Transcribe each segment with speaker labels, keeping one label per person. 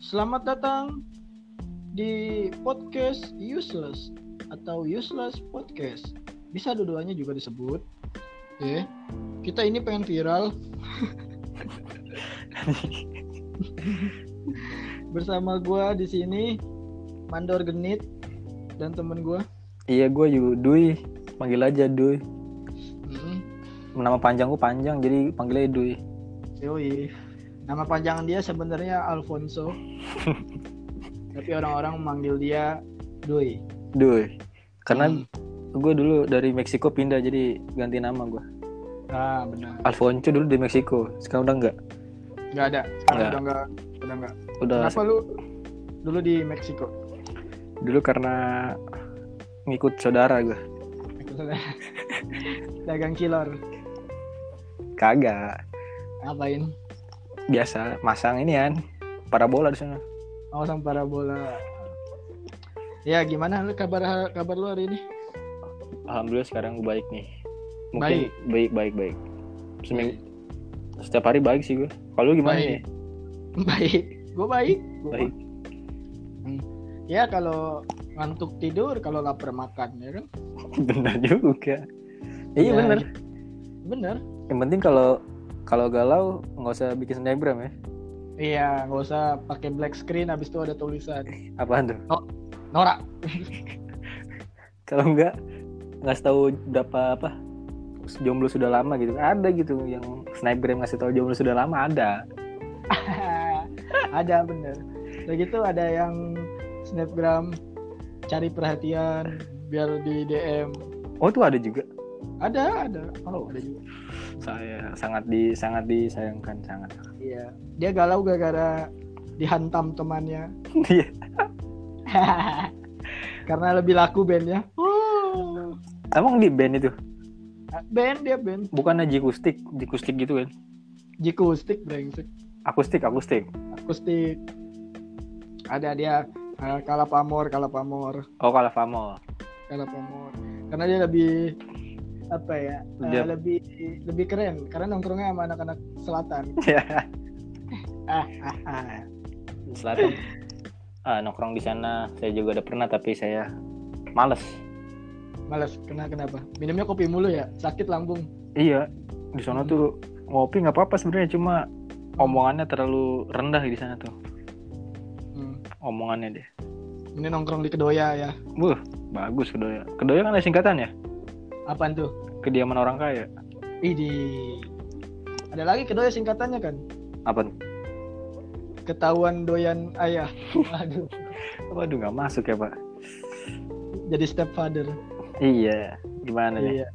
Speaker 1: Selamat datang di podcast Useless atau Useless Podcast. Bisa dua-duanya juga disebut. Oke. Eh, Kita ini pengen viral. Bersama gua di sini Mandor Genit dan temen gua.
Speaker 2: Iya gue juga Dui Panggil aja Dui
Speaker 1: Mm,
Speaker 2: Nama panjang gue panjang Jadi panggilnya Dui
Speaker 1: yoi. Nama panjang dia sebenarnya Alfonso. Tapi orang-orang manggil dia Doi.
Speaker 2: Dui Karena
Speaker 1: Hmm.
Speaker 2: gue dulu dari Meksiko pindah Jadi ganti nama gue
Speaker 1: Ah, benar.
Speaker 2: Alfonso dulu di Meksiko Sekarang udah enggak
Speaker 1: Enggak ada. Sekarang
Speaker 2: Nggak.
Speaker 1: udah enggak udah enggak.
Speaker 2: Udah
Speaker 1: Kenapa lu dulu di Meksiko?
Speaker 2: dulu karena ngikut saudara gue
Speaker 1: Dagang killer.
Speaker 2: Kagak
Speaker 1: Ngapain?
Speaker 2: Biasa Masang ini kan Parabola di sana
Speaker 1: Awasang parabola. Ya, gimana lu kabar kabar lu hari ini?
Speaker 2: Alhamdulillah sekarang gue baik nih
Speaker 1: Baik.
Speaker 2: Mungkin baik Baik baik Seminggu Setiap hari baik sih gue Kalau lu gimana
Speaker 1: Baik.
Speaker 2: nih?
Speaker 1: baik. Gue baik. Gua
Speaker 2: Baik.
Speaker 1: Hmm. Ya kalau ngantuk tidur, kalau lapar makan, ya kan?
Speaker 2: bener juga
Speaker 1: Ya,
Speaker 2: Iya bener
Speaker 1: Bener.
Speaker 2: Yang penting kalau kalau galau nggak usah bikin snapgram ya.
Speaker 1: Iya, nggak usah pakai black screen. Habis itu ada tulisan
Speaker 2: Apaan tuh?
Speaker 1: Nora.
Speaker 2: Kalau nggak nggak tahu berapa apa jomblo sudah lama gitu. Ada gitu yang snapgram ngasih tahu jomblo sudah lama ada.
Speaker 1: ada bener. Udah gitu ada yang snapgram cari perhatian biar di DM.
Speaker 2: Oh itu ada juga.
Speaker 1: Ada, ada.
Speaker 2: Oh.
Speaker 1: Ada juga.
Speaker 2: Saya sangat di sangat disayangkan sangat.
Speaker 1: Iya. Dia galau gara-gara dihantam temannya.
Speaker 2: Iya.
Speaker 1: Karena lebih laku bandnya. Oh.
Speaker 2: Emang di band itu
Speaker 1: Band dia band.
Speaker 2: bukannya jikustik, jikustik gitu kan?
Speaker 1: Jikustik brengsek.
Speaker 2: Akustik, akustik.
Speaker 1: Akustik. Ada dia eh, kalapamor, kalapamor,
Speaker 2: Oh kalau Famo.
Speaker 1: kalapamor. Karena dia lebih apa ya? eh,
Speaker 2: Dia-
Speaker 1: lebih lebih keren karena nongkrongnya sama anak-anak selatan.
Speaker 2: Ya.
Speaker 1: Ah, ah, ah.
Speaker 2: Selatan. Ah, nongkrong di sana saya juga ada pernah tapi saya males.
Speaker 1: Males kena kenapa? Minumnya kopi mulu ya, sakit lambung.
Speaker 2: Iya, di sana tuh ngopi nggak apa-apa sebenarnya cuma omongannya terlalu rendah di sana tuh.
Speaker 1: Hmm.
Speaker 2: Omongannya deh.
Speaker 1: Ini nongkrong di Kedoya ya.
Speaker 2: Wuh, bagus Kedoya. Kedoya kan ada singkatan ya?
Speaker 1: Apaan tuh?
Speaker 2: Kediaman orang kaya.
Speaker 1: Idi. Ada lagi kedoya singkatannya kan?
Speaker 2: Apa? tuh?
Speaker 1: Ketahuan doyan ayah. Waduh.
Speaker 2: Waduh, nggak masuk ya, Pak.
Speaker 1: Jadi stepfather.
Speaker 2: Iya, gimana ya?
Speaker 1: Iya.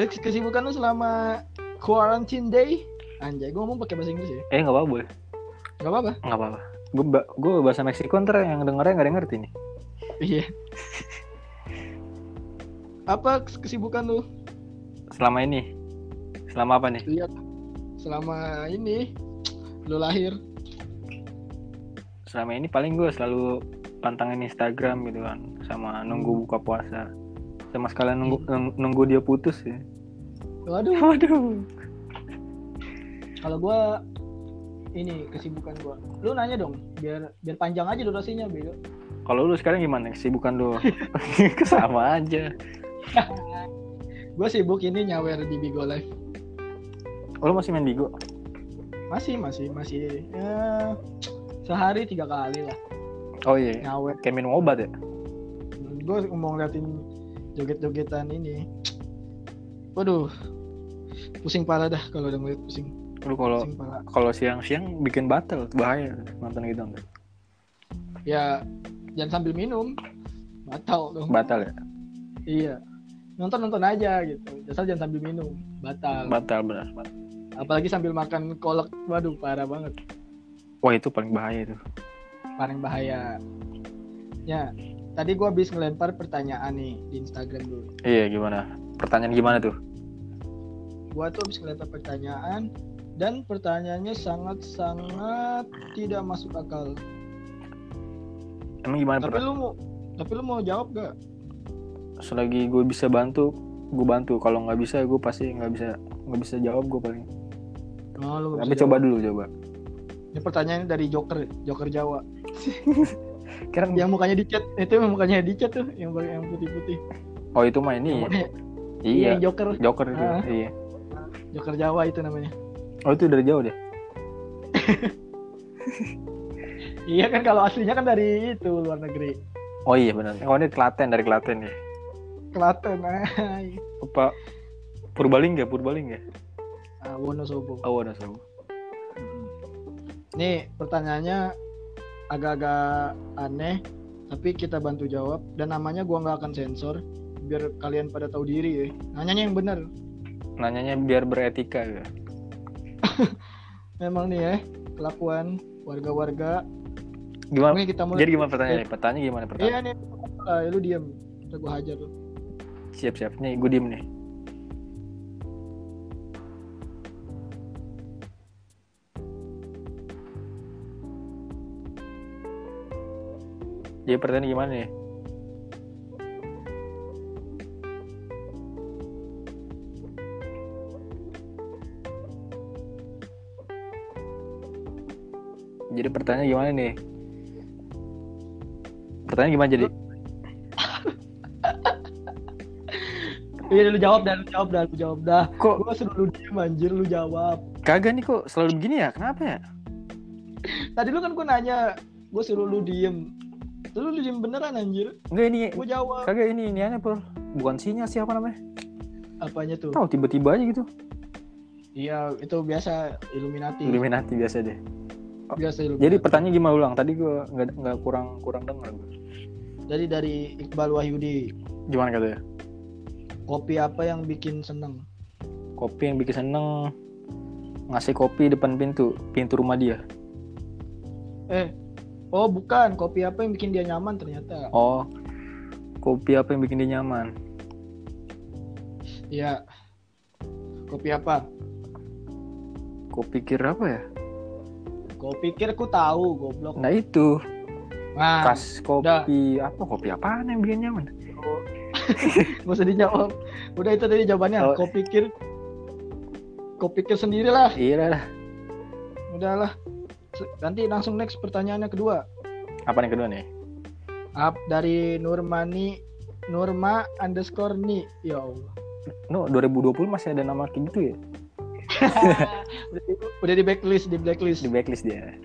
Speaker 1: Eh, Kesibukan lu selama quarantine day? Anjay, gue ngomong pakai bahasa Inggris ya.
Speaker 2: Eh, nggak apa-apa, boleh.
Speaker 1: Gak apa-apa.
Speaker 2: Nggak apa-apa. Gue ba- gue bahasa Meksiko ntar yang dengernya nggak ada yang ngerti nih.
Speaker 1: Iya. Apa kesibukan lu?
Speaker 2: Selama ini. Selama apa nih?
Speaker 1: Lihat selama ini lu lahir.
Speaker 2: Selama ini paling gue selalu pantangin Instagram gitu kan. Sama nunggu buka puasa. Sama sekalian nunggu, nunggu dia putus ya.
Speaker 1: Waduh.
Speaker 2: Waduh.
Speaker 1: Kalau gua ini kesibukan gua. Lu nanya dong, biar biar panjang aja durasinya, bego.
Speaker 2: Kalau lu sekarang gimana? Kesibukan lu? Sama aja.
Speaker 1: Gua sibuk ini nyawer di Bigo Live.
Speaker 2: Oh, lu masih main Bigo?
Speaker 1: Masih, masih, masih. Ya, sehari tiga kali lah
Speaker 2: Oh iya.
Speaker 1: ngawet.
Speaker 2: Kayak minum obat ya?
Speaker 1: Gue mau ngeliatin joget-jogetan ini. Waduh, pusing parah dah kalau udah ngeliat pusing,
Speaker 2: Lu kalau
Speaker 1: pusing parah.
Speaker 2: kalau siang-siang bikin batal bahaya nonton gitu enggak?
Speaker 1: Ya, jangan sambil minum, batal dong.
Speaker 2: Batal ya?
Speaker 1: iya, nonton nonton aja gitu. Asal jangan sambil minum, batal.
Speaker 2: Batal benar. batal.
Speaker 1: Apalagi sambil makan kolak, waduh parah banget,
Speaker 2: Wah, itu paling bahaya itu.
Speaker 1: paling bahaya. Ya, tadi gue habis ngelempar pertanyaan nih di Instagram dulu.
Speaker 2: Iya, gimana? Pertanyaan gimana tuh?
Speaker 1: gua tuh habis ngeliat pertanyaan dan pertanyaannya sangat-sangat tidak masuk akal.
Speaker 2: Emang gimana
Speaker 1: Tapi
Speaker 2: per-
Speaker 1: lu mau tapi lu mau jawab gak?
Speaker 2: selagi gue bisa bantu, gue bantu. Kalau nggak bisa, gue pasti nggak bisa nggak bisa jawab gue paling.
Speaker 1: Oh, lu
Speaker 2: Tapi coba dulu coba.
Speaker 1: Ini pertanyaannya dari Joker, Joker Jawa.
Speaker 2: Keren
Speaker 1: Yang mukanya dicat, itu yang mukanya dicat tuh, yang yang putih-putih.
Speaker 2: Oh itu mah ini.
Speaker 1: Yang-
Speaker 2: Iya.
Speaker 1: yang Joker,
Speaker 2: Joker itu.
Speaker 1: Ah.
Speaker 2: Iya.
Speaker 1: Joker Jawa itu namanya.
Speaker 2: Oh itu dari jauh deh.
Speaker 1: Iya kan kalau aslinya kan dari itu luar negeri.
Speaker 2: Oh iya benar. Oh ini Klaten dari Klaten ya.
Speaker 1: Klaten, ay.
Speaker 2: Apa Purbalingga, Purbalingga.
Speaker 1: Ah, Wonosobo.
Speaker 2: Oh ada tahu.
Speaker 1: Nih pertanyaannya agak-agak aneh, tapi kita bantu jawab dan namanya gua nggak akan sensor biar kalian pada tahu diri ya. Nanyanya yang benar.
Speaker 2: Nanyanya biar beretika ya.
Speaker 1: Memang nih ya kelakuan warga-warga.
Speaker 2: Gimana?
Speaker 1: Mungkin kita mulai.
Speaker 2: Jadi gimana pertanyaannya? Pertanyaannya gimana
Speaker 1: Iya
Speaker 2: pertanyaan?
Speaker 1: nih. Ah, lu diam. Ntar gua hajar lu.
Speaker 2: Siap siap. Nih gue diem nih. Jadi pertanyaan gimana ya? nih? Jadi pertanyaan gimana nih? Pertanyaan gimana jadi?
Speaker 1: Iya lu jawab dan lu jawab dan lu jawab dah.
Speaker 2: Kok
Speaker 1: Gua suruh lu diam anjir lu jawab.
Speaker 2: Kagak nih kok selalu begini ya? Kenapa ya?
Speaker 1: Tadi lu kan gua nanya, gua suruh lu diem. Lu lu diem beneran anjir.
Speaker 2: Enggak ini
Speaker 1: Gua jawab.
Speaker 2: kagak ini ini aneh Pur. Bukan sinyal siapa namanya?
Speaker 1: Apanya tuh?
Speaker 2: Tahu tiba-tiba aja gitu.
Speaker 1: Iya, itu biasa Illuminati.
Speaker 2: Illuminati biasa deh.
Speaker 1: Biasa Illuminati.
Speaker 2: Jadi pertanyaan gimana ulang? Tadi gua nggak nggak kurang kurang dengar gua.
Speaker 1: Jadi dari Iqbal Wahyudi,
Speaker 2: Gimana katanya?
Speaker 1: kopi apa yang bikin seneng?
Speaker 2: Kopi yang bikin seneng ngasih kopi depan pintu pintu rumah dia.
Speaker 1: Eh, oh bukan, kopi apa yang bikin dia nyaman ternyata.
Speaker 2: Oh, kopi apa yang bikin dia nyaman?
Speaker 1: Iya. Kopi apa?
Speaker 2: Kopi kira apa ya?
Speaker 1: Gua pikir ku tahu, goblok.
Speaker 2: Nah itu
Speaker 1: Nah,
Speaker 2: kas kopi apa kopi apaan yang bikin nyaman?
Speaker 1: gak usah dijawab. Udah itu tadi
Speaker 2: Oh.
Speaker 1: jawabannya. Kau pikir Kau pikir sendirilah.
Speaker 2: Iya lah.
Speaker 1: Udahlah. Se- Nanti langsung next pertanyaannya kedua.
Speaker 2: Apa yang kedua nih?
Speaker 1: Up dari Nurmani Nurma underscore ni ya Allah
Speaker 2: No 2020 masih ada nama kayak gitu ya?
Speaker 1: udah, di, udah di blacklist di blacklist
Speaker 2: Di backlist dia.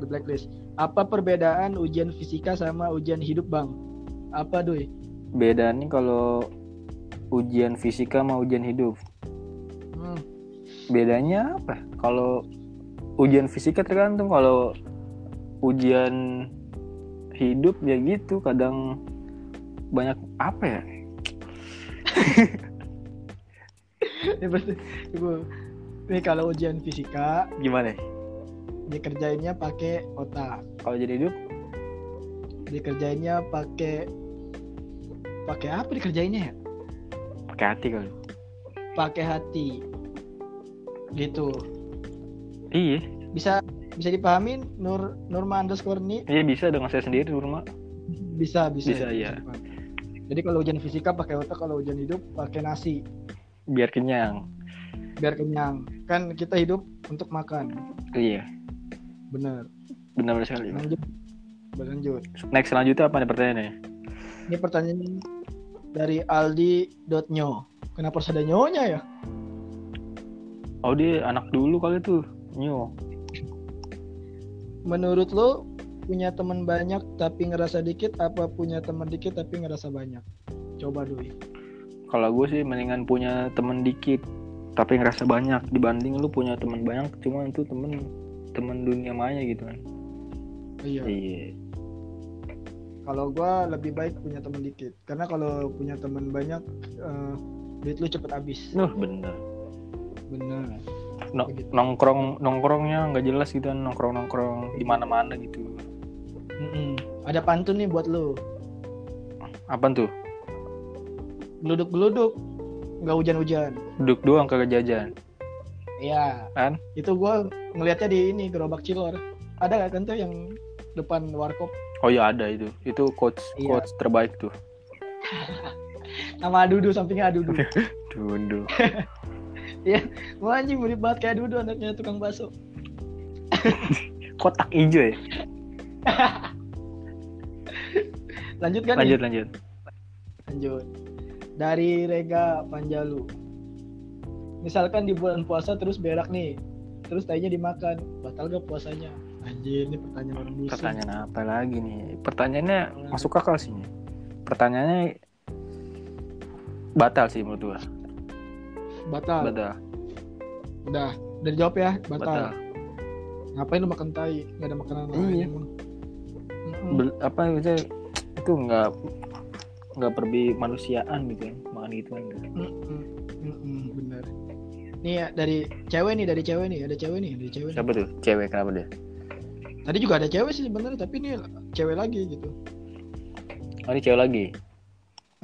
Speaker 1: di blacklist apa perbedaan ujian fisika sama ujian hidup bang apa doi
Speaker 2: bedanya kalau ujian fisika sama ujian hidup
Speaker 1: hmm.
Speaker 2: bedanya apa kalau ujian fisika tergantung kalau ujian hidup ya gitu kadang banyak apa ya
Speaker 1: ini berarti Tunggu. Nih, kalau ujian fisika
Speaker 2: gimana
Speaker 1: dikerjainnya pakai otak
Speaker 2: kalau jadi hidup
Speaker 1: dikerjainnya pakai pakai apa dikerjainnya ya
Speaker 2: pakai hati kali
Speaker 1: pakai hati gitu
Speaker 2: iya
Speaker 1: bisa bisa dipahamin Nur Nurma underscore ni
Speaker 2: iya bisa dengan saya sendiri di rumah
Speaker 1: bisa bisa
Speaker 2: Bisa, iya.
Speaker 1: jadi kalau ujian fisika pakai otak kalau ujian hidup pakai nasi
Speaker 2: biar kenyang
Speaker 1: biar kenyang kan kita hidup untuk makan
Speaker 2: iya
Speaker 1: bener
Speaker 2: benar sekali
Speaker 1: lanjut berlanjut
Speaker 2: next selanjutnya apa nih pertanyaannya
Speaker 1: ini pertanyaan dari aldi.nyo kenapa harus ada nyonya ya
Speaker 2: oh dia anak dulu kali tuh new
Speaker 1: menurut lo punya teman banyak tapi ngerasa dikit apa punya teman dikit tapi ngerasa banyak coba doi
Speaker 2: kalau gue sih mendingan punya temen dikit tapi ngerasa banyak dibanding lu punya temen banyak cuma itu temen temen dunia maya gitu kan
Speaker 1: iya
Speaker 2: iya
Speaker 1: kalau gua lebih baik punya teman dikit karena kalau punya teman banyak eh, duit lu cepet habis
Speaker 2: Nuh, bener
Speaker 1: bener gitu.
Speaker 2: No-
Speaker 1: Begitu.
Speaker 2: nongkrong nongkrongnya nggak jelas gitu kan nongkrong nongkrong di mana mana gitu
Speaker 1: Mm-mm. Ada pantun nih buat lu.
Speaker 2: apa tuh
Speaker 1: Geluduk-geluduk. Nggak hujan-hujan.
Speaker 2: duduk doang kagak jajan
Speaker 1: Iya.
Speaker 2: Kan?
Speaker 1: Itu gua ngelihatnya di ini gerobak Cilor. Ada nggak kan tuh yang depan warkop
Speaker 2: oh iya ada itu itu coach
Speaker 1: Iya.
Speaker 2: coach terbaik tuh
Speaker 1: sama Adudu sampingnya Adudu.
Speaker 2: duduk
Speaker 1: Wah anjing mirip banget kayak Adudu anaknya tukang bakso.
Speaker 2: kotak hijau ya
Speaker 1: Lanjut kan?
Speaker 2: lanjut lanjut
Speaker 1: Lanjut. Dari Rega Panjalu. Misalkan di bulan puasa terus berak nih. Terus tainya dimakan. Batal gak puasanya? Anjir, ini pertanyaan orang busuk.
Speaker 2: pertanyaan apa lagi nih pertanyaannya masuk akal sih nih. pertanyaannya batal sih menurut gua
Speaker 1: Batal.
Speaker 2: batal
Speaker 1: Udah. Udah dijawab ya, batal.
Speaker 2: batal Hmm.
Speaker 1: Ngapain lu makan tai? Gak ada makanan
Speaker 2: Iya.
Speaker 1: lain. emang. Mm-mm.
Speaker 2: Bel- apa gitu itu nggak nggak perbi manusiaan gitu ya makan gitu kan
Speaker 1: Mm-mm. Mm-mm, Bener. Nih ya, dari cewek nih, dari cewek nih, ada cewek nih, dari cewek nih.
Speaker 2: siapa tuh cewek kenapa dia
Speaker 1: Tadi juga ada cewek sih sebenarnya, tapi ini cewek lagi gitu.
Speaker 2: oh ini cewek lagi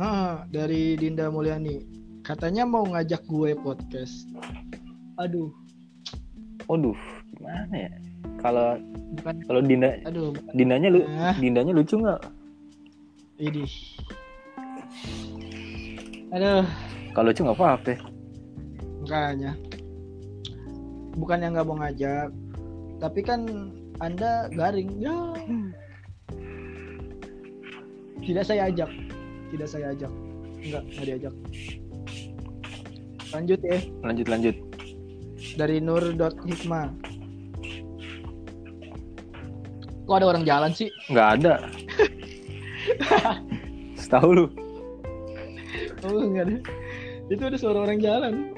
Speaker 1: Ah, dari Dinda Mulyani. Katanya mau ngajak gue podcast. Aduh,
Speaker 2: Waduh, gimana ya? Kalau
Speaker 1: bukan.
Speaker 2: kalau Dinda
Speaker 1: Aduh, bukan.
Speaker 2: Dindanya lu
Speaker 1: Ah.
Speaker 2: Dindanya lucu nggak?
Speaker 1: Ini. Aduh,
Speaker 2: Kalau lucu nggak apa-apa. ya.
Speaker 1: makanya. Bukan yang nggak mau ngajak, tapi kan Anda garing. Ya. Tidak saya ajak. Tidak saya ajak. Enggak, nggak diajak. Lanjut ya.
Speaker 2: Lanjut lanjut.
Speaker 1: dari nur.hikmah kok ada orang jalan sih
Speaker 2: Nggak ada. Setahu lu?
Speaker 1: oh enggak ada itu ada suara orang jalan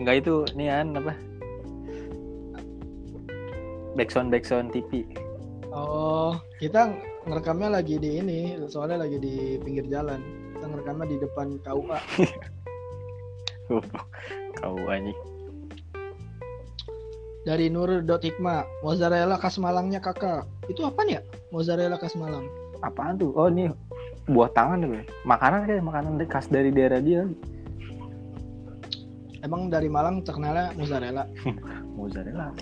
Speaker 2: Nggak itu nian apa? Backsound backsound TV.
Speaker 1: oh kita ngerekamnya lagi di ini soalnya lagi di pinggir jalan kita ngerekamnya di depan KUA
Speaker 2: Kau anjing.
Speaker 1: dari nur.hikmah mozzarella khas Malangnya kakak itu apa ya mozzarella khas Malang
Speaker 2: Apaan tuh? Oh ini buah tangan tuh. ya. Makanan kayak makanan khas dari daerah dia.
Speaker 1: emang dari Malang terkenalnya mozzarella
Speaker 2: Mozzarella.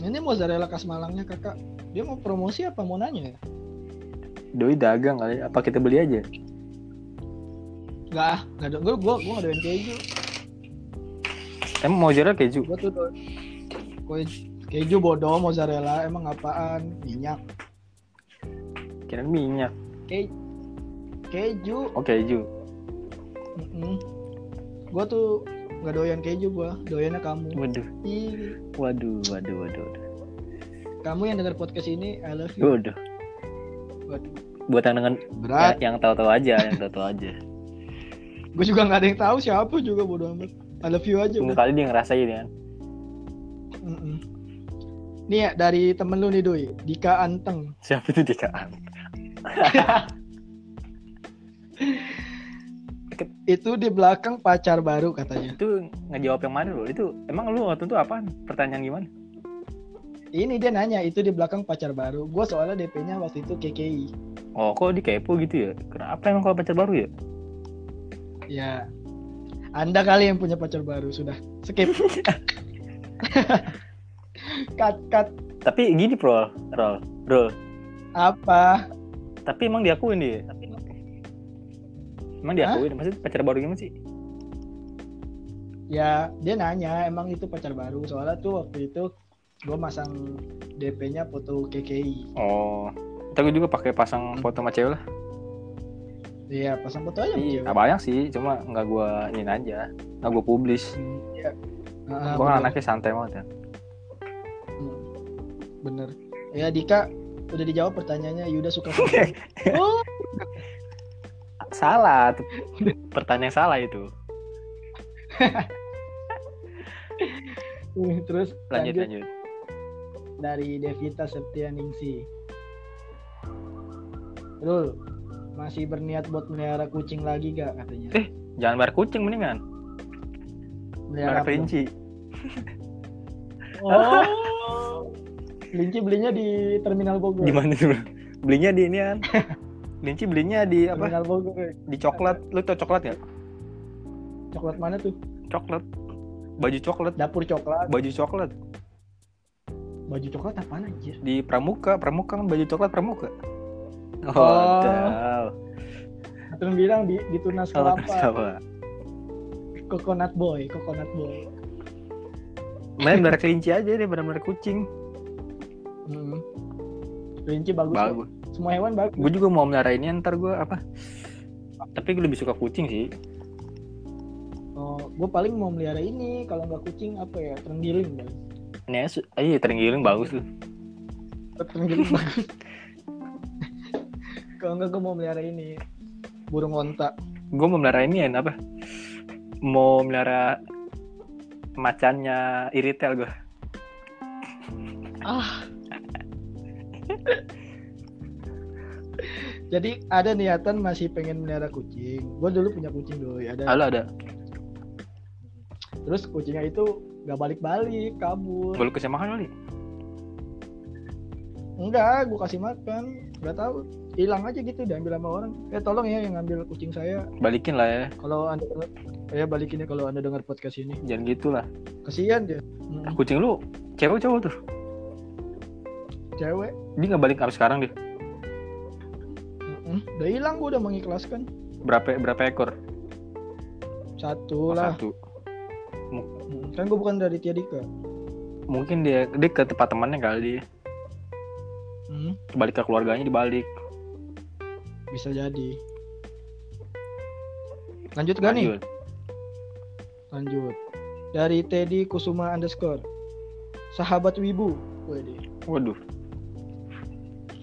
Speaker 1: ini mozzarella khas Malangnya kakak dia mau promosi apa mau nanya ya
Speaker 2: Doi dagang kali. Apa kita beli aja?
Speaker 1: Enggak, ah, enggak ada. Gue gue gue ada keju.
Speaker 2: Emang mozzarella keju.
Speaker 1: gue tuh doyan kue- keju bodoh mozzarella emang apaan minyak
Speaker 2: Kirain minyak.
Speaker 1: Ke- keju
Speaker 2: Oh keju.
Speaker 1: gue tuh nggak doyan keju gue doyannya kamu
Speaker 2: Waduh.
Speaker 1: Ih,
Speaker 2: Waduh. Waduh. Waduh.
Speaker 1: kamu yang dengar podcast ini I love you
Speaker 2: Waduh.
Speaker 1: Waduh.
Speaker 2: Buat yang dengan ya,
Speaker 1: berat
Speaker 2: yang tahu-tahu aja, yang tahu-tahu aja.
Speaker 1: gue juga nggak ada yang tahu siapa juga bodoh amat I love you aja
Speaker 2: Tunggu
Speaker 1: udah.
Speaker 2: kali dia ngerasain kan.
Speaker 1: Mm-mm. nih ya dari temen lu nih doi Dika Anteng
Speaker 2: Siapa itu Dika?
Speaker 1: itu di belakang pacar baru katanya
Speaker 2: Itu ngejawab yang mana loh? Itu emang lu waktu itu apaan? Pertanyaan gimana?
Speaker 1: ini dia nanya itu di belakang pacar baru gue soalnya DP-nya waktu itu KKI
Speaker 2: Oh, kok dikepo gitu ya? Kenapa emang kalau pacar baru ya?
Speaker 1: Ya. Anda kali yang punya pacar baru sudah. Skip. cut cut
Speaker 2: Tapi gini, Pro, Rol, Rol.
Speaker 1: apa?
Speaker 2: Tapi emang gitu. diakuin dia. Emang diakuin? Maksudnya pacar baru gimana sih?
Speaker 1: Ya, dia nanya emang itu pacar baru. Soalnya tuh waktu itu gue masang DP-nya foto KKI.
Speaker 2: Oh, tapi juga pakai pasang foto sama cewek lah.
Speaker 1: Iya, pasang foto aja.
Speaker 2: Iya,
Speaker 1: Bang.
Speaker 2: banyak sih, cuma nggak gua ini aja, nggak gua publish.
Speaker 1: Iya. Ah,
Speaker 2: Gua
Speaker 1: bener.
Speaker 2: anaknya santai banget ya.
Speaker 1: Bener. Ya, Dika udah dijawab pertanyaannya Yuda suka foto. oh,
Speaker 2: Salah, tuh. pertanyaan salah itu.
Speaker 1: terus
Speaker 2: Lanjut, lanjut.
Speaker 1: dari Devita Septianingsi. Rul, masih berniat buat melihara kucing lagi gak katanya?
Speaker 2: Eh, Jangan bar kucing mendingan, bar
Speaker 1: melihara apa?
Speaker 2: kelinci.
Speaker 1: Oh. Kelinci belinya di Terminal Bogor.
Speaker 2: Di mana tuh? Belinya di ini kan. Kelinci belinya di apa?
Speaker 1: Terminal Bogor.
Speaker 2: Di coklat. Lu tau coklat nggak?
Speaker 1: Coklat mana tuh?
Speaker 2: Coklat. Baju coklat,
Speaker 1: Dapur coklat.
Speaker 2: baju coklat
Speaker 1: Baju coklat apaan anjir?
Speaker 2: di pramuka, pramuka kan baju coklat pramuka. Oh,
Speaker 1: Oh.
Speaker 2: tahu.
Speaker 1: Terus bilang di, di tunas
Speaker 2: Salah
Speaker 1: kelapa.
Speaker 2: salah.
Speaker 1: Coconut boy, coconut boy.
Speaker 2: Main bar kelinci aja deh, benar-benar kucing.
Speaker 1: Hmm. Kelinci bagus. ya.
Speaker 2: bagus
Speaker 1: Semua hewan bagus.
Speaker 2: gue juga mau meliharainnya ntar gue apa tapi gue lebih suka kucing sih
Speaker 1: Oh, gue paling mau melihara ini. Kalau nggak kucing apa ya? Terenggiling paling.
Speaker 2: ini aja su- eh terenggiling bagus tuh
Speaker 1: Terenggiling bagus. Kalau nggak gue mau melihara ini burung onta.
Speaker 2: gue mau melihara ini ya apa mau melihara macannya iritel gue
Speaker 1: Jadi ada niatan masih pengen melihara kucing. Gue dulu punya kucing dulu. Ada
Speaker 2: halo ada
Speaker 1: Terus kucingnya itu nggak balik-balik, kabur.
Speaker 2: gue kasih makan kali
Speaker 1: Enggak, gue kasih makan. Nggak tahu, hilang aja gitu diambil sama orang. Eh tolong ya yang ngambil kucing saya.
Speaker 2: balikin lah ya
Speaker 1: Kalau anda saya balikin ya kalau anda dengar podcast ini.
Speaker 2: jangan gitu gitulah
Speaker 1: Kasihan dia. Hmm,
Speaker 2: kucing lu cewek cowok tuh
Speaker 1: cewek.
Speaker 2: dia nggak balik sampai sekarang dia
Speaker 1: Mm-mm. Udah hilang gue udah mengikhlaskan.
Speaker 2: berapa berapa ekor
Speaker 1: Satu
Speaker 2: Oh,
Speaker 1: lah.
Speaker 2: satu
Speaker 1: Hmm, Kan gue bukan dari Tia Dika.
Speaker 2: mungkin dia dia ke tempat temannya kali dia
Speaker 1: Hmm,
Speaker 2: balik ke keluarganya dibalik
Speaker 1: bisa jadi. Lanjut gak nih?
Speaker 2: Lanjut.
Speaker 1: Lanjut. Dari Teddy Kusuma underscore. Sahabat Wibu. Wede.
Speaker 2: waduh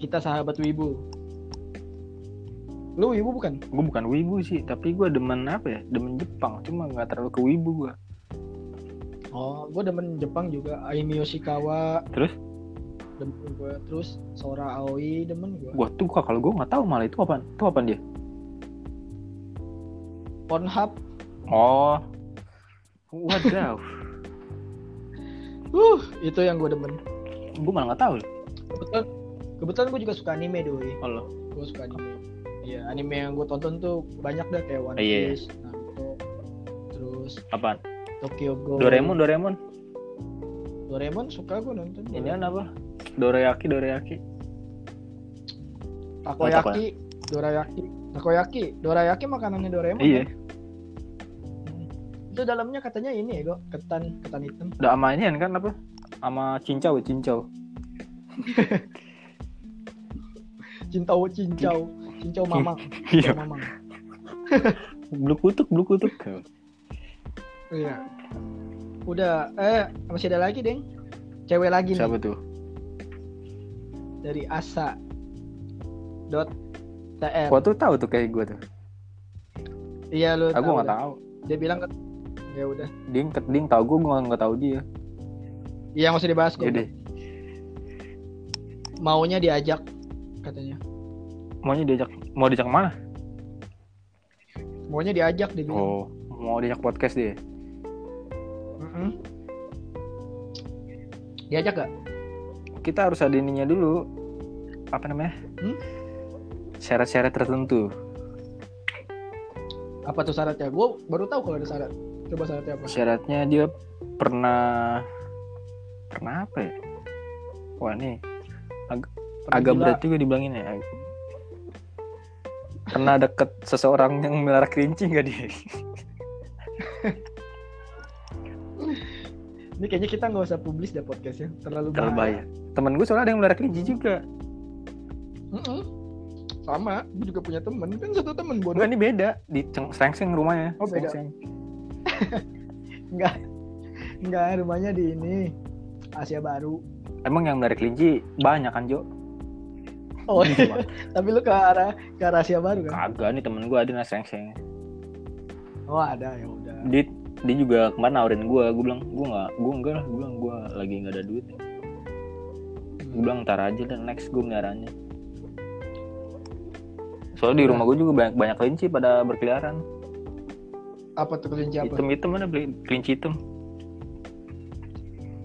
Speaker 1: kita sahabat wibu lu wibu bukan
Speaker 2: gue bukan wibu sih tapi gue demen apa ya demen Jepang cuma nggak terlalu ke wibu gue
Speaker 1: oh gue demen Jepang juga Aimi Yoshikawa
Speaker 2: Terus?
Speaker 1: demen gue terus Sora Aoi demen gue
Speaker 2: gue tuh kalau gue nggak tahu malah itu apa itu apa dia
Speaker 1: Pornhub
Speaker 2: oh waduh
Speaker 1: uh itu yang gue demen
Speaker 2: gue malah nggak tahu
Speaker 1: kebetulan kebetulan gue juga suka anime doi
Speaker 2: Allah
Speaker 1: gue suka anime iya anime yang gue tonton tuh banyak dah kayak One
Speaker 2: Iya.
Speaker 1: Piece Naruto terus
Speaker 2: apaan
Speaker 1: Tokyo Ghoul
Speaker 2: Doraemon Doraemon
Speaker 1: Doraemon suka gue nonton
Speaker 2: ini kan? apa Dorayaki Dorayaki
Speaker 1: Takoyaki Dorayaki Takoyaki Dorayaki makanannya Doraemon kan?
Speaker 2: iya
Speaker 1: itu dalamnya katanya ini ya kok ketan ketan hitam
Speaker 2: udah sama ini kan apa sama cincau cincau
Speaker 1: cincau cincau cincau mamang cincau
Speaker 2: iya
Speaker 1: mamang
Speaker 2: blue kutuk blue kutuk
Speaker 1: iya udah eh masih ada lagi deng cewek lagi nih
Speaker 2: siapa tuh
Speaker 1: dari asa dot tr
Speaker 2: Gua tuh tahu tuh kayak gue tuh
Speaker 1: iya lu
Speaker 2: aku
Speaker 1: tahu
Speaker 2: nggak
Speaker 1: dah.
Speaker 2: tahu
Speaker 1: dia bilang ket- ya udah
Speaker 2: dia nggak- dia nggak tahu gue gue nggak tahu dia
Speaker 1: iya nggak usah dibahas kok
Speaker 2: ya deh
Speaker 1: maunya diajak katanya
Speaker 2: maunya diajak mau diajak mana
Speaker 1: maunya diajak dia bilang
Speaker 2: oh mau diajak podcast dia
Speaker 1: Mm-mm. diajak gak
Speaker 2: kita harus ada ininya dulu apa namanya
Speaker 1: Hmm?
Speaker 2: syarat-syarat tertentu
Speaker 1: apa tuh syaratnya gue baru tahu kalau ada syarat coba syaratnya apa
Speaker 2: syaratnya dia pernah pernah apa ya wah nih
Speaker 1: Pernah
Speaker 2: agak
Speaker 1: gila.
Speaker 2: berat juga dibilangin ya pernah deket seseorang yang melihara kelinci nggak dia
Speaker 1: ini kayaknya kita nggak usah publis deh podcastnya terlalu
Speaker 2: terlalu
Speaker 1: bahaya.
Speaker 2: bahaya temen gue soalnya ada yang melihara kelinci juga
Speaker 1: Mm-mm. Sama, gue juga punya temen kan satu temen
Speaker 2: gue
Speaker 1: bodoh.
Speaker 2: ini beda di ceng- serengseng rumahnya
Speaker 1: Oh, beda.
Speaker 2: Serengseng.
Speaker 1: Enggak, rumahnya di ini Asia Baru.
Speaker 2: emang yang melihara kelinci banyak kan Jo
Speaker 1: Oh,
Speaker 2: Gitu, Bang.
Speaker 1: tapi lu ke arah ke arah Asia Baru kan?
Speaker 2: kagak nih temen gue ada yang serengseng
Speaker 1: Oh ada ya udah.
Speaker 2: dia dia juga kemarin nawarin gue gue bilang gue nggak gue enggak lah gue bilang gue lagi nggak ada duit gue bilang ntar aja dan next gue meliharanya
Speaker 1: Iya.
Speaker 2: soalnya di rumah gue juga banyak banyak kelinci pada berkeliaran
Speaker 1: Apa tuh kelinci apa?
Speaker 2: hitam hitam mana beli kelinci hitam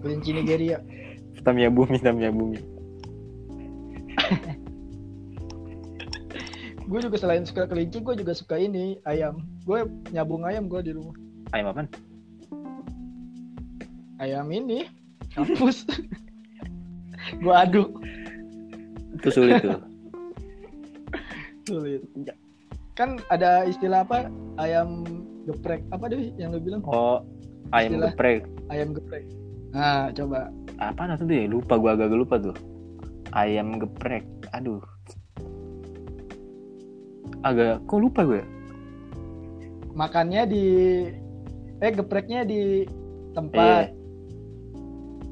Speaker 1: Kelinci Nigeria.
Speaker 2: hitam ya bumi hitam ya bumi
Speaker 1: Gue juga selain suka kelinci, gue juga suka ini ayam. Gue nyabung ayam gue di rumah.
Speaker 2: ayam apaan
Speaker 1: Ayam ini kampus. gue aduk
Speaker 2: itu sulit tuh
Speaker 1: sulit. Kan ada istilah apa? Ayam geprek apa deh yang lu bilang?
Speaker 2: oh ayam
Speaker 1: Istilah.
Speaker 2: geprek
Speaker 1: Ayam geprek. Nah, coba
Speaker 2: apa tuh ya lupa gue agak lupa tuh ayam geprek aduh agak kok lupa ya? gue
Speaker 1: Makannya di eh gepreknya di tempat.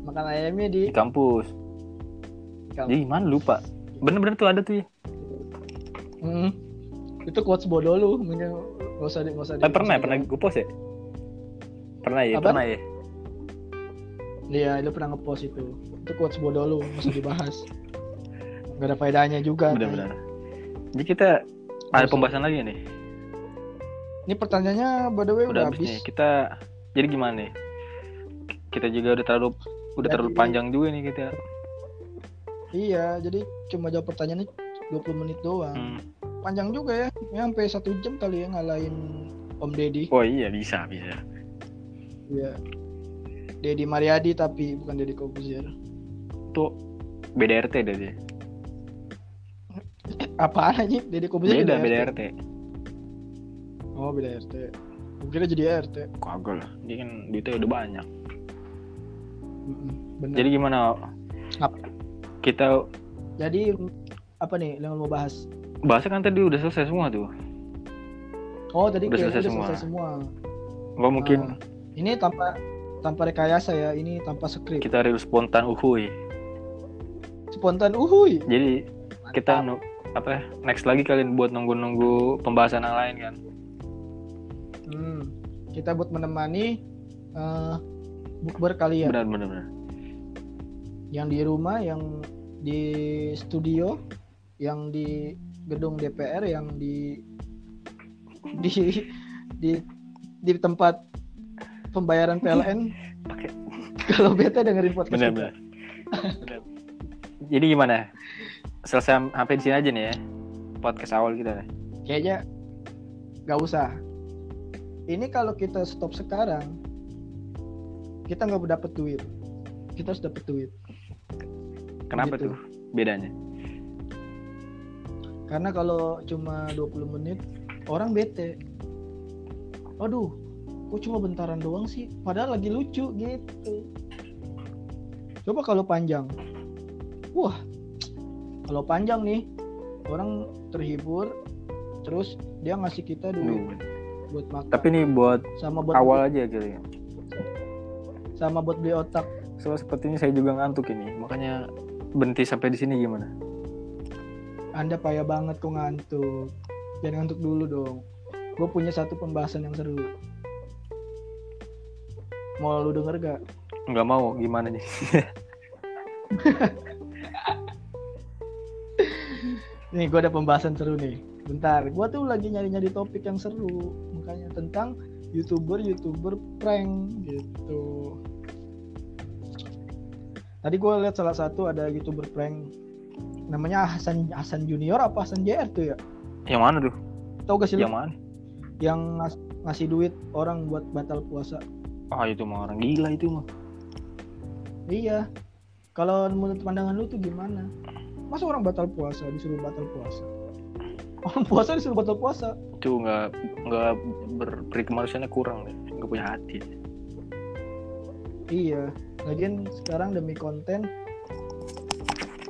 Speaker 1: Makan ayamnya di
Speaker 2: Eh, di kampus
Speaker 1: Kampus.
Speaker 2: jadi gimana lupa bener-bener tuh ada tuh ya
Speaker 1: Mm. Itu quotes bodoh lu, mending nggak usah di nggak usah di.
Speaker 2: Eh, pernah
Speaker 1: nggak usah
Speaker 2: pernah
Speaker 1: di-
Speaker 2: gue post ya pernah ya
Speaker 1: Apa?
Speaker 2: pernah ya
Speaker 1: Iya, lu pernah ngepost itu. Itu quotes bodoh lu, nggak usah dibahas. Gak ada faedahnya juga.
Speaker 2: bener-bener jadi kita ada pembahasan lagi nih
Speaker 1: Ini pertanyaannya by the way udah,
Speaker 2: udah ya, habis
Speaker 1: habis.
Speaker 2: nih kita jadi gimana nih kita juga udah terlalu udah
Speaker 1: Jadi-
Speaker 2: terlalu panjang juga nih kita
Speaker 1: Iya, jadi cuma jawab pertanyaannya 20 menit doang.
Speaker 2: Hmm.
Speaker 1: Panjang juga ya. Ya sampai satu jam kali ya ngalahin Om Deddy.
Speaker 2: oh iya bisa bisa
Speaker 1: Iya. Deddy Mariadi tapi bukan Deddy Kobuzier.
Speaker 2: tuh beda RT deh dia
Speaker 1: Apaan aja? Deddy Kobuzier
Speaker 2: beda beda RT
Speaker 1: Oh, beda RT. Mungkin jadi RT.
Speaker 2: kagak lah dia kan duitnya udah
Speaker 1: Nah.
Speaker 2: banyak
Speaker 1: Mm-mm, Bener.
Speaker 2: jadi gimana
Speaker 1: Apa?
Speaker 2: kita
Speaker 1: Jadi apa nih yang lu mau bahas?
Speaker 2: bahasa kan tadi udah selesai semua tuh
Speaker 1: Oh tadi
Speaker 2: Udah
Speaker 1: kayaknya
Speaker 2: selesai
Speaker 1: udah
Speaker 2: semua.
Speaker 1: selesai semua.
Speaker 2: apa
Speaker 1: Ah,
Speaker 2: mungkin
Speaker 1: Ini tanpa tanpa rekayasa ya. Ini tanpa skrip.
Speaker 2: kita rilis spontan uhuy
Speaker 1: Spontan uhuy.
Speaker 2: jadi kita
Speaker 1: Mantap.
Speaker 2: nu- apa next lagi kalian buat nunggu-nunggu pembahasan yang lain kan
Speaker 1: Hmm. kita buat menemani eh bukber kalian
Speaker 2: benar benar benar
Speaker 1: yang di rumah, yang di studio, yang di gedung DPR, yang di di di di tempat pembayaran PLN.
Speaker 2: Pakai.
Speaker 1: Kalau beta dengerin podcast
Speaker 2: benar
Speaker 1: kita.
Speaker 2: benar Benar. jadi gimana selesai sam- sampai di sini aja nih ya podcast awal kita nih
Speaker 1: Kayaknya nggak usah. Ini kalau kita stop sekarang, kita nggak dapet duit. Kita harus dapet duit.
Speaker 2: kenapa
Speaker 1: Gitu.
Speaker 2: tuh bedanya
Speaker 1: Karena kalau cuma 20 menit orang bete. Aduh, kok cuma bentaran doang sih? Padahal lagi lucu gitu. Coba kalau panjang. Wah. Kalau panjang nih orang terhibur terus dia ngasih kita duit
Speaker 2: Duh.
Speaker 1: buat makan
Speaker 2: Hmm. tapi nih buat
Speaker 1: sama Iya. buat
Speaker 2: awal aja gitu ya
Speaker 1: sama buat beli otak.
Speaker 2: so sepertinya saya juga ngantuk ini makanya berhenti sampai di sini gimana
Speaker 1: Anda payah banget kok ngantuk. Jangan ngantuk dulu dong. Gue punya satu pembahasan yang seru. Mau lu denger gak?
Speaker 2: nggak mau gimana nih
Speaker 1: Nih gue ada pembahasan seru nih. Bentar, gue tuh lagi nyari-nyari topik yang seru. Makanya tentang youtuber-youtuber prank gitu. Tadi gue lihat salah satu ada youtuber prank namanya Hasan Hasan Junior apa Hasan JR tuh ya?
Speaker 2: yang mana tuh
Speaker 1: Tahu gak sih
Speaker 2: yang
Speaker 1: lu?
Speaker 2: mana
Speaker 1: yang ngas- ngasih duit orang buat batal puasa?
Speaker 2: ah itu mah orang gila itu mah
Speaker 1: Iya. Kalau menurut pandangan lu tuh gimana? Masa orang batal puasa disuruh batal puasa? Orang puasa disuruh batal puasa.
Speaker 2: itu nggak nggak ber- beri kemanusiaannya kurang deh nggak punya hati
Speaker 1: Iya. Lagian sekarang demi konten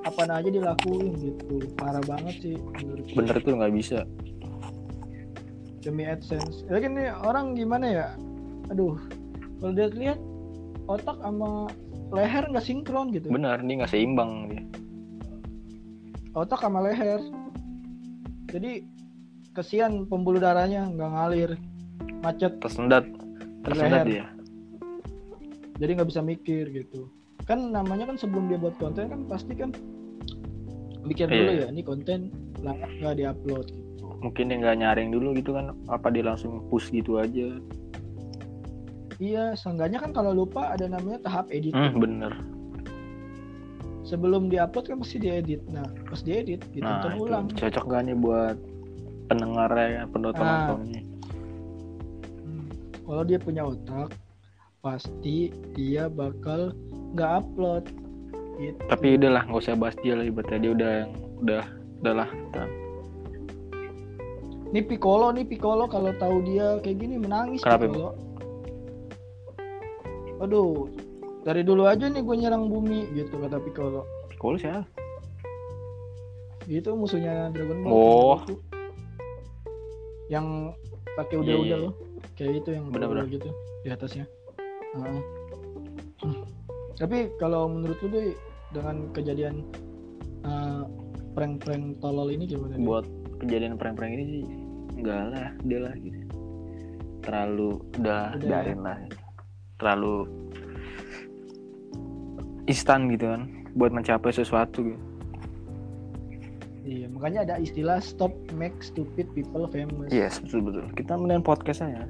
Speaker 1: apa aja dilakuin gitu. Parah banget sih menurut gua.
Speaker 2: bener tuh nggak bisa
Speaker 1: demi AdSense. Lagian nih orang gimana ya? Aduh. Kalau dia lihat otak sama leher nggak sinkron gitu.
Speaker 2: bener dia nggak seimbang dia
Speaker 1: otak sama leher jadi kesian pembuluh darahnya nggak ngalir macet
Speaker 2: tersendat
Speaker 1: Leher.
Speaker 2: tersendat dia
Speaker 1: jadi nggak bisa mikir gitu kan namanya kan sebelum dia buat konten kan pasti kan mikir dulu ya
Speaker 2: Iya.
Speaker 1: ini konten layak nggak diupload gitu
Speaker 2: mungkin dia nggak nyaring dulu gitu kan apa dia langsung push gitu aja
Speaker 1: iya seenggaknya kan kalau lupa ada namanya tahap
Speaker 2: hmm,
Speaker 1: editing
Speaker 2: bener
Speaker 1: sebelum diupload kan pasti diedit nah pas diedit
Speaker 2: nah
Speaker 1: ditonton
Speaker 2: itu
Speaker 1: ulang
Speaker 2: cocok gak nih buat pendengarnya penonton nontonnya
Speaker 1: Hmm. kalau dia punya otak pasti dia bakal nggak upload gitu.
Speaker 2: tapi udahlah nggak usah bahas dia lah ibaratnya dia udah yang udah udahlah kita
Speaker 1: Nih Piccolo nih Piccolo kalau tahu dia kayak gini menangis
Speaker 2: Kenapa,
Speaker 1: Piccolo. Aduh, dari dulu aja nih gue nyerang bumi gitu kata Piccolo.
Speaker 2: Piccolo siapa
Speaker 1: Itu musuhnya Dragon Ball.
Speaker 2: Oh.
Speaker 1: Goku. Yang pakai udah-udah
Speaker 2: Iya, iya.
Speaker 1: loh. Kayak itu yang
Speaker 2: Bener-bener.
Speaker 1: udah gitu di atasnya. Heeh. Hmm. Tapi kalau menurut lu Doi, dengan kejadian eh, prank-prank tolol ini gimana? Doi?
Speaker 2: buat kejadian prank-prank ini sih enggak lah dia lah gitu terlalu udah ya?
Speaker 1: Udah.
Speaker 2: biarin lah terlalu instan gitu kan buat mencapai sesuatu gitu.
Speaker 1: Iya, makanya ada istilah stop make stupid people famous.
Speaker 2: yes betul betul kita mending podcast aja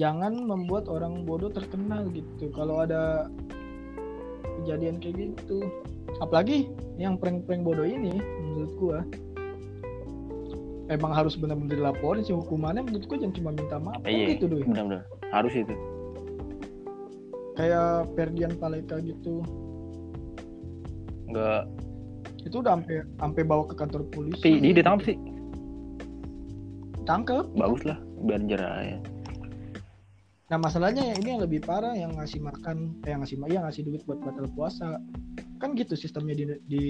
Speaker 1: Jangan membuat orang bodoh terkenal gitu. Kalau ada kejadian kayak gitu, apalagi yang prank-prank bodoh ini, menurut gua emang harus benar-benar dilaporin sih hukumannya menurut gua jangan cuma minta maaf kan
Speaker 2: Iya.
Speaker 1: gitu doi
Speaker 2: benar-benar harus itu
Speaker 1: kayak Ferdian Paleka gitu
Speaker 2: enggak
Speaker 1: itu udah sampai sampai bawa ke kantor polisi
Speaker 2: tapi dia ditangkap sih
Speaker 1: tangkep
Speaker 2: bagus lah biar jerah ya
Speaker 1: Nah masalahnya ya ini yang lebih parah yang ngasih makan, eh yang ngasih ya ngasih duit buat batal puasa. Kan gitu sistemnya di, di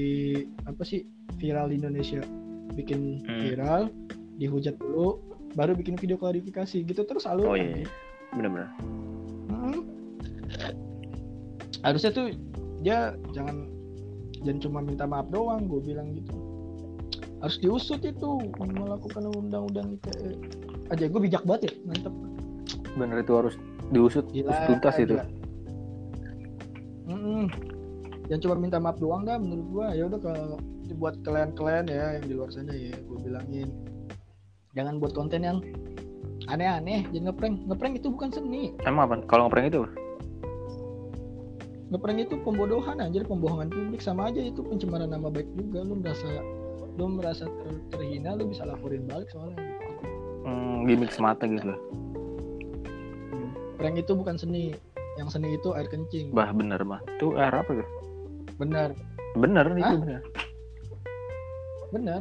Speaker 1: apa sih viral di Indonesia. Bikin
Speaker 2: Hmm.
Speaker 1: viral, dihujat dulu, baru bikin video klarifikasi gitu terus alur.
Speaker 2: oh iya benar-benar
Speaker 1: Hmm. Harusnya tuh dia jangan jangan cuma minta maaf doang, gue bilang gitu. Harus diusut itu melakukan undang-undang ITE. Aja gue bijak banget ya, mantep.
Speaker 2: bener itu harus diusut
Speaker 1: Gila,
Speaker 2: terus tuntas itu
Speaker 1: gila. Mm-mm. Yang cuma minta maaf doang dah menurut gua. Ya udah kalau buat kalian-kalian ya yang di luar sana ya, gua bilangin jangan buat konten yang aneh-aneh, jangan ngeprank. Ngeprank itu bukan seni.
Speaker 2: emang apa kalau ngeprank itu
Speaker 1: Ngeprank itu pembodohan anjir, pembohongan publik sama aja itu pencemaran nama baik juga. Lu merasa lu merasa ter- terhina, lu bisa laporin balik soalnya.
Speaker 2: hmm, gimmick semata gitu loh
Speaker 1: Prank itu bukan seni. Yang seni itu air kencing.
Speaker 2: bah bener bah itu air apa tuh
Speaker 1: Benar,
Speaker 2: bener itu
Speaker 1: Hah?
Speaker 2: bener
Speaker 1: Benar.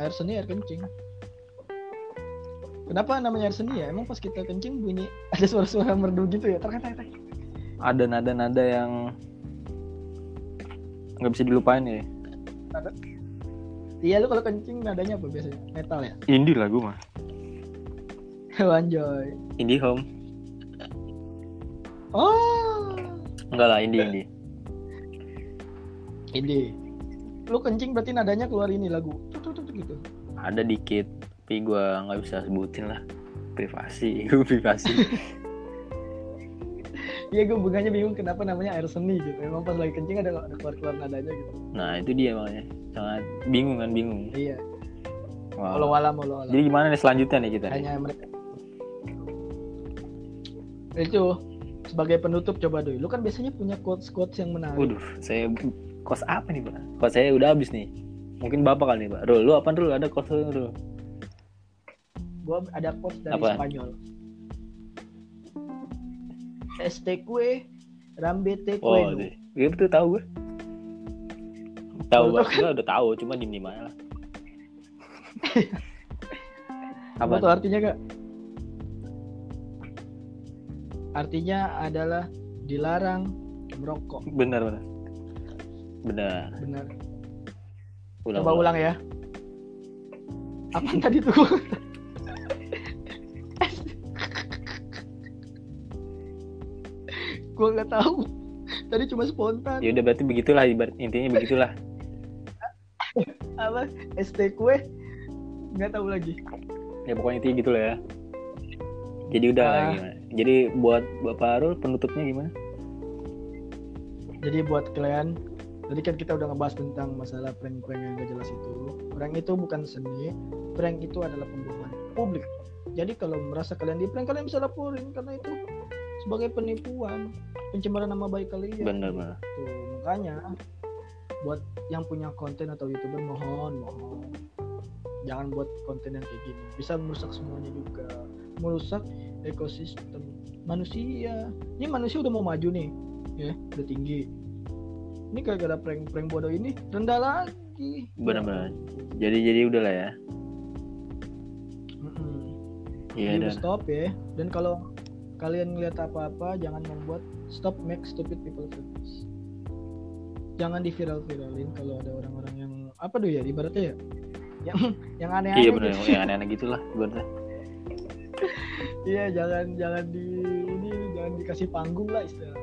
Speaker 1: Air seni air kencing. Kenapa namanya air seni ya? Emang pas kita kencing bunyi ada suara-suara merdu gitu ya? Terkata kata
Speaker 2: ada nada-nada yang nggak bisa dilupain ya
Speaker 1: Iya lu kalau kencing nadanya apa biasanya? Metal ya? Oh,
Speaker 2: indie lagu mah
Speaker 1: Wanjoy.
Speaker 2: indie home
Speaker 1: Oh.
Speaker 2: enggak lah indie indie
Speaker 1: Ini. Lu kencing berarti nadanya keluar ini lagu. Tut, tut, tut, gitu.
Speaker 2: ada dikit tapi gue nggak bisa sebutin lah privasi gue privasi
Speaker 1: Iya gue bukannya bingung kenapa namanya air seni gitu. Emang pas lagi kencing ada ada keluar-keluar nadanya gitu.
Speaker 2: nah itu dia makanya sangat bingung kan bingung
Speaker 1: Iya.
Speaker 2: Wah.
Speaker 1: Walau alam, walau alam.
Speaker 2: jadi gimana nih selanjutnya nih kita nih?
Speaker 1: hanya mereka itu sebagai penutup coba doi lu kan biasanya punya quotes quotes yang menarik
Speaker 2: Waduh, saya kos apa nih pak? Kos saya udah habis nih. Mungkin bapak kali nih pak. Rul, lu apa Rul? Ada kos lu Rul?
Speaker 1: gua ada quotes dari
Speaker 2: Apa?
Speaker 1: Spanyol STQ Rambete
Speaker 2: Oh,
Speaker 1: Cueno
Speaker 2: deh. Iya betul tahu gue. Tahu
Speaker 1: Lu
Speaker 2: gue,
Speaker 1: tau kan?
Speaker 2: gue udah tahu, cuma diem diem aja lah.
Speaker 1: apa
Speaker 2: apa?
Speaker 1: tuh artinya gak? artinya adalah dilarang merokok
Speaker 2: Bener bener. Bener.
Speaker 1: benar
Speaker 2: Ulang,
Speaker 1: coba
Speaker 2: ulang.
Speaker 1: ulang ya apa tadi tuh gue nggak tahu tadi cuma spontan
Speaker 2: Ya udah berarti begitulah ibarat intinya begitulah.
Speaker 1: apa ST kue nggak tahu lagi
Speaker 2: Ya pokoknya intinya gitu lah ya. Jadi udah lah,
Speaker 1: Ah.
Speaker 2: gimana? Jadi buat Bapak Rul penutupnya gimana?
Speaker 1: jadi buat kalian tadi kan kita udah ngebahas tentang masalah prank-prank yang gak jelas itu prank itu bukan seni prank itu adalah pembohongan publik jadi kalau merasa kalian di prank kalian bisa laporin karena itu sebagai penipuan pencemaran nama baik kalian
Speaker 2: Bener bener.
Speaker 1: Tuh, Gitu. makanya buat yang punya konten atau youtuber mohon mohon jangan buat konten yang kayak gini bisa merusak semuanya juga merusak ekosistem manusia ini manusia udah mau maju nih ya udah tinggi ini gara-gara prank-prank bodoh ini rendah lagi
Speaker 2: Bener-bener. Jadi jadi udah lah ya.
Speaker 1: Mm-mm.
Speaker 2: Iya
Speaker 1: Jadi
Speaker 2: dan
Speaker 1: stop ya dan kalau kalian ngeliat apa-apa jangan membuat stop make stupid people famous jangan diviral-viralin kalau ada orang-orang yang apa dulu ya ibaratnya ya yang yang aneh-aneh
Speaker 2: iya benar
Speaker 1: gitu.
Speaker 2: yang aneh-aneh gitulah ibaratnya
Speaker 1: Iya jangan jangan di ini jangan dikasih panggung lah istilahnya.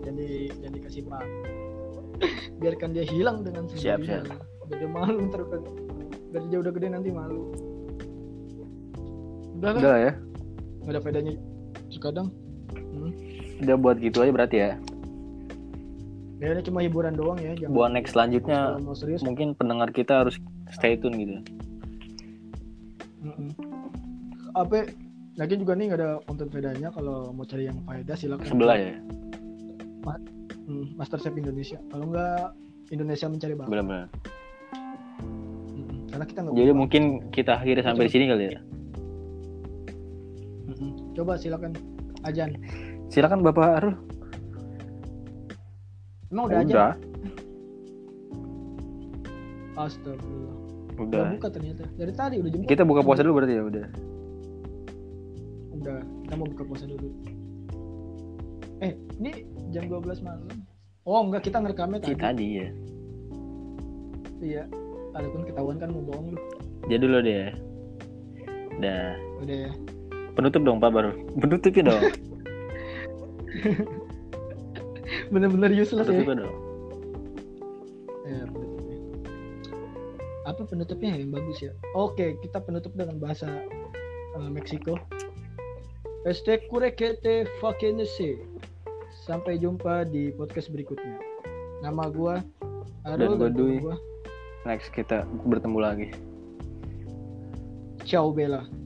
Speaker 1: Jadi jangan dikasih panggung. Biarkan dia hilang dengan
Speaker 2: Siap,
Speaker 1: sendirinya. Biar dia malu ntar udah- biar dia udah gede nanti malu. Udah lah,
Speaker 2: udah lah ya
Speaker 1: nggak ada bedanya. Kadang
Speaker 2: udah buat gitu aja berarti ya
Speaker 1: ya ini cuma hiburan doang ya. Jangan
Speaker 2: buat Ya. next selanjutnya
Speaker 1: kalau mau serius.
Speaker 2: mungkin pendengar kita harus stay tune gitu
Speaker 1: mm-mm. Apa? Lagi juga nih nggak ada konten bedanya kalau mau cari yang faedah silakan.
Speaker 2: sebelah ya
Speaker 1: Hmm, Masterchef Indonesia. Kalau nggak Indonesia mencari bakat.
Speaker 2: benar-benar
Speaker 1: Mm-mm. Karena kita nggak
Speaker 2: jadi
Speaker 1: berubah.
Speaker 2: mungkin kita akhiri sampai di sini kali ya
Speaker 1: Mm-mm. Coba silakan Ajan.
Speaker 2: silakan bapak Arul
Speaker 1: Emang udah, Ajan?
Speaker 2: udah
Speaker 1: Astagfirullah. Udah
Speaker 2: udah
Speaker 1: buka ternyata. Dari tadi udah jemput.
Speaker 2: kita buka puasa dulu berarti ya udah
Speaker 1: Udah. Kita mau buka puasa dulu. Eh, ini jam 12 malam. Oh, enggak kita ngerekamnya tadi.
Speaker 2: kita tadi ya
Speaker 1: Iya. Adapun ketahuan kan mau bohong lu.
Speaker 2: dia dulu deh udah
Speaker 1: Udah ya.
Speaker 2: penutup dong pak baru penutupnya dong
Speaker 1: Bener-bener useless ya.
Speaker 2: penutupnya dong Iya,
Speaker 1: Eh, penutupnya. Apa penutupnya yang bagus ya? Oke, kita penutup dengan bahasa eh, Meksiko. Este kurekete fakenese. Sampai jumpa di podcast berikutnya. Nama gua Arul
Speaker 2: Dan gua Dwi.
Speaker 1: teman gua
Speaker 2: next kita bertemu lagi
Speaker 1: Ciao Bella.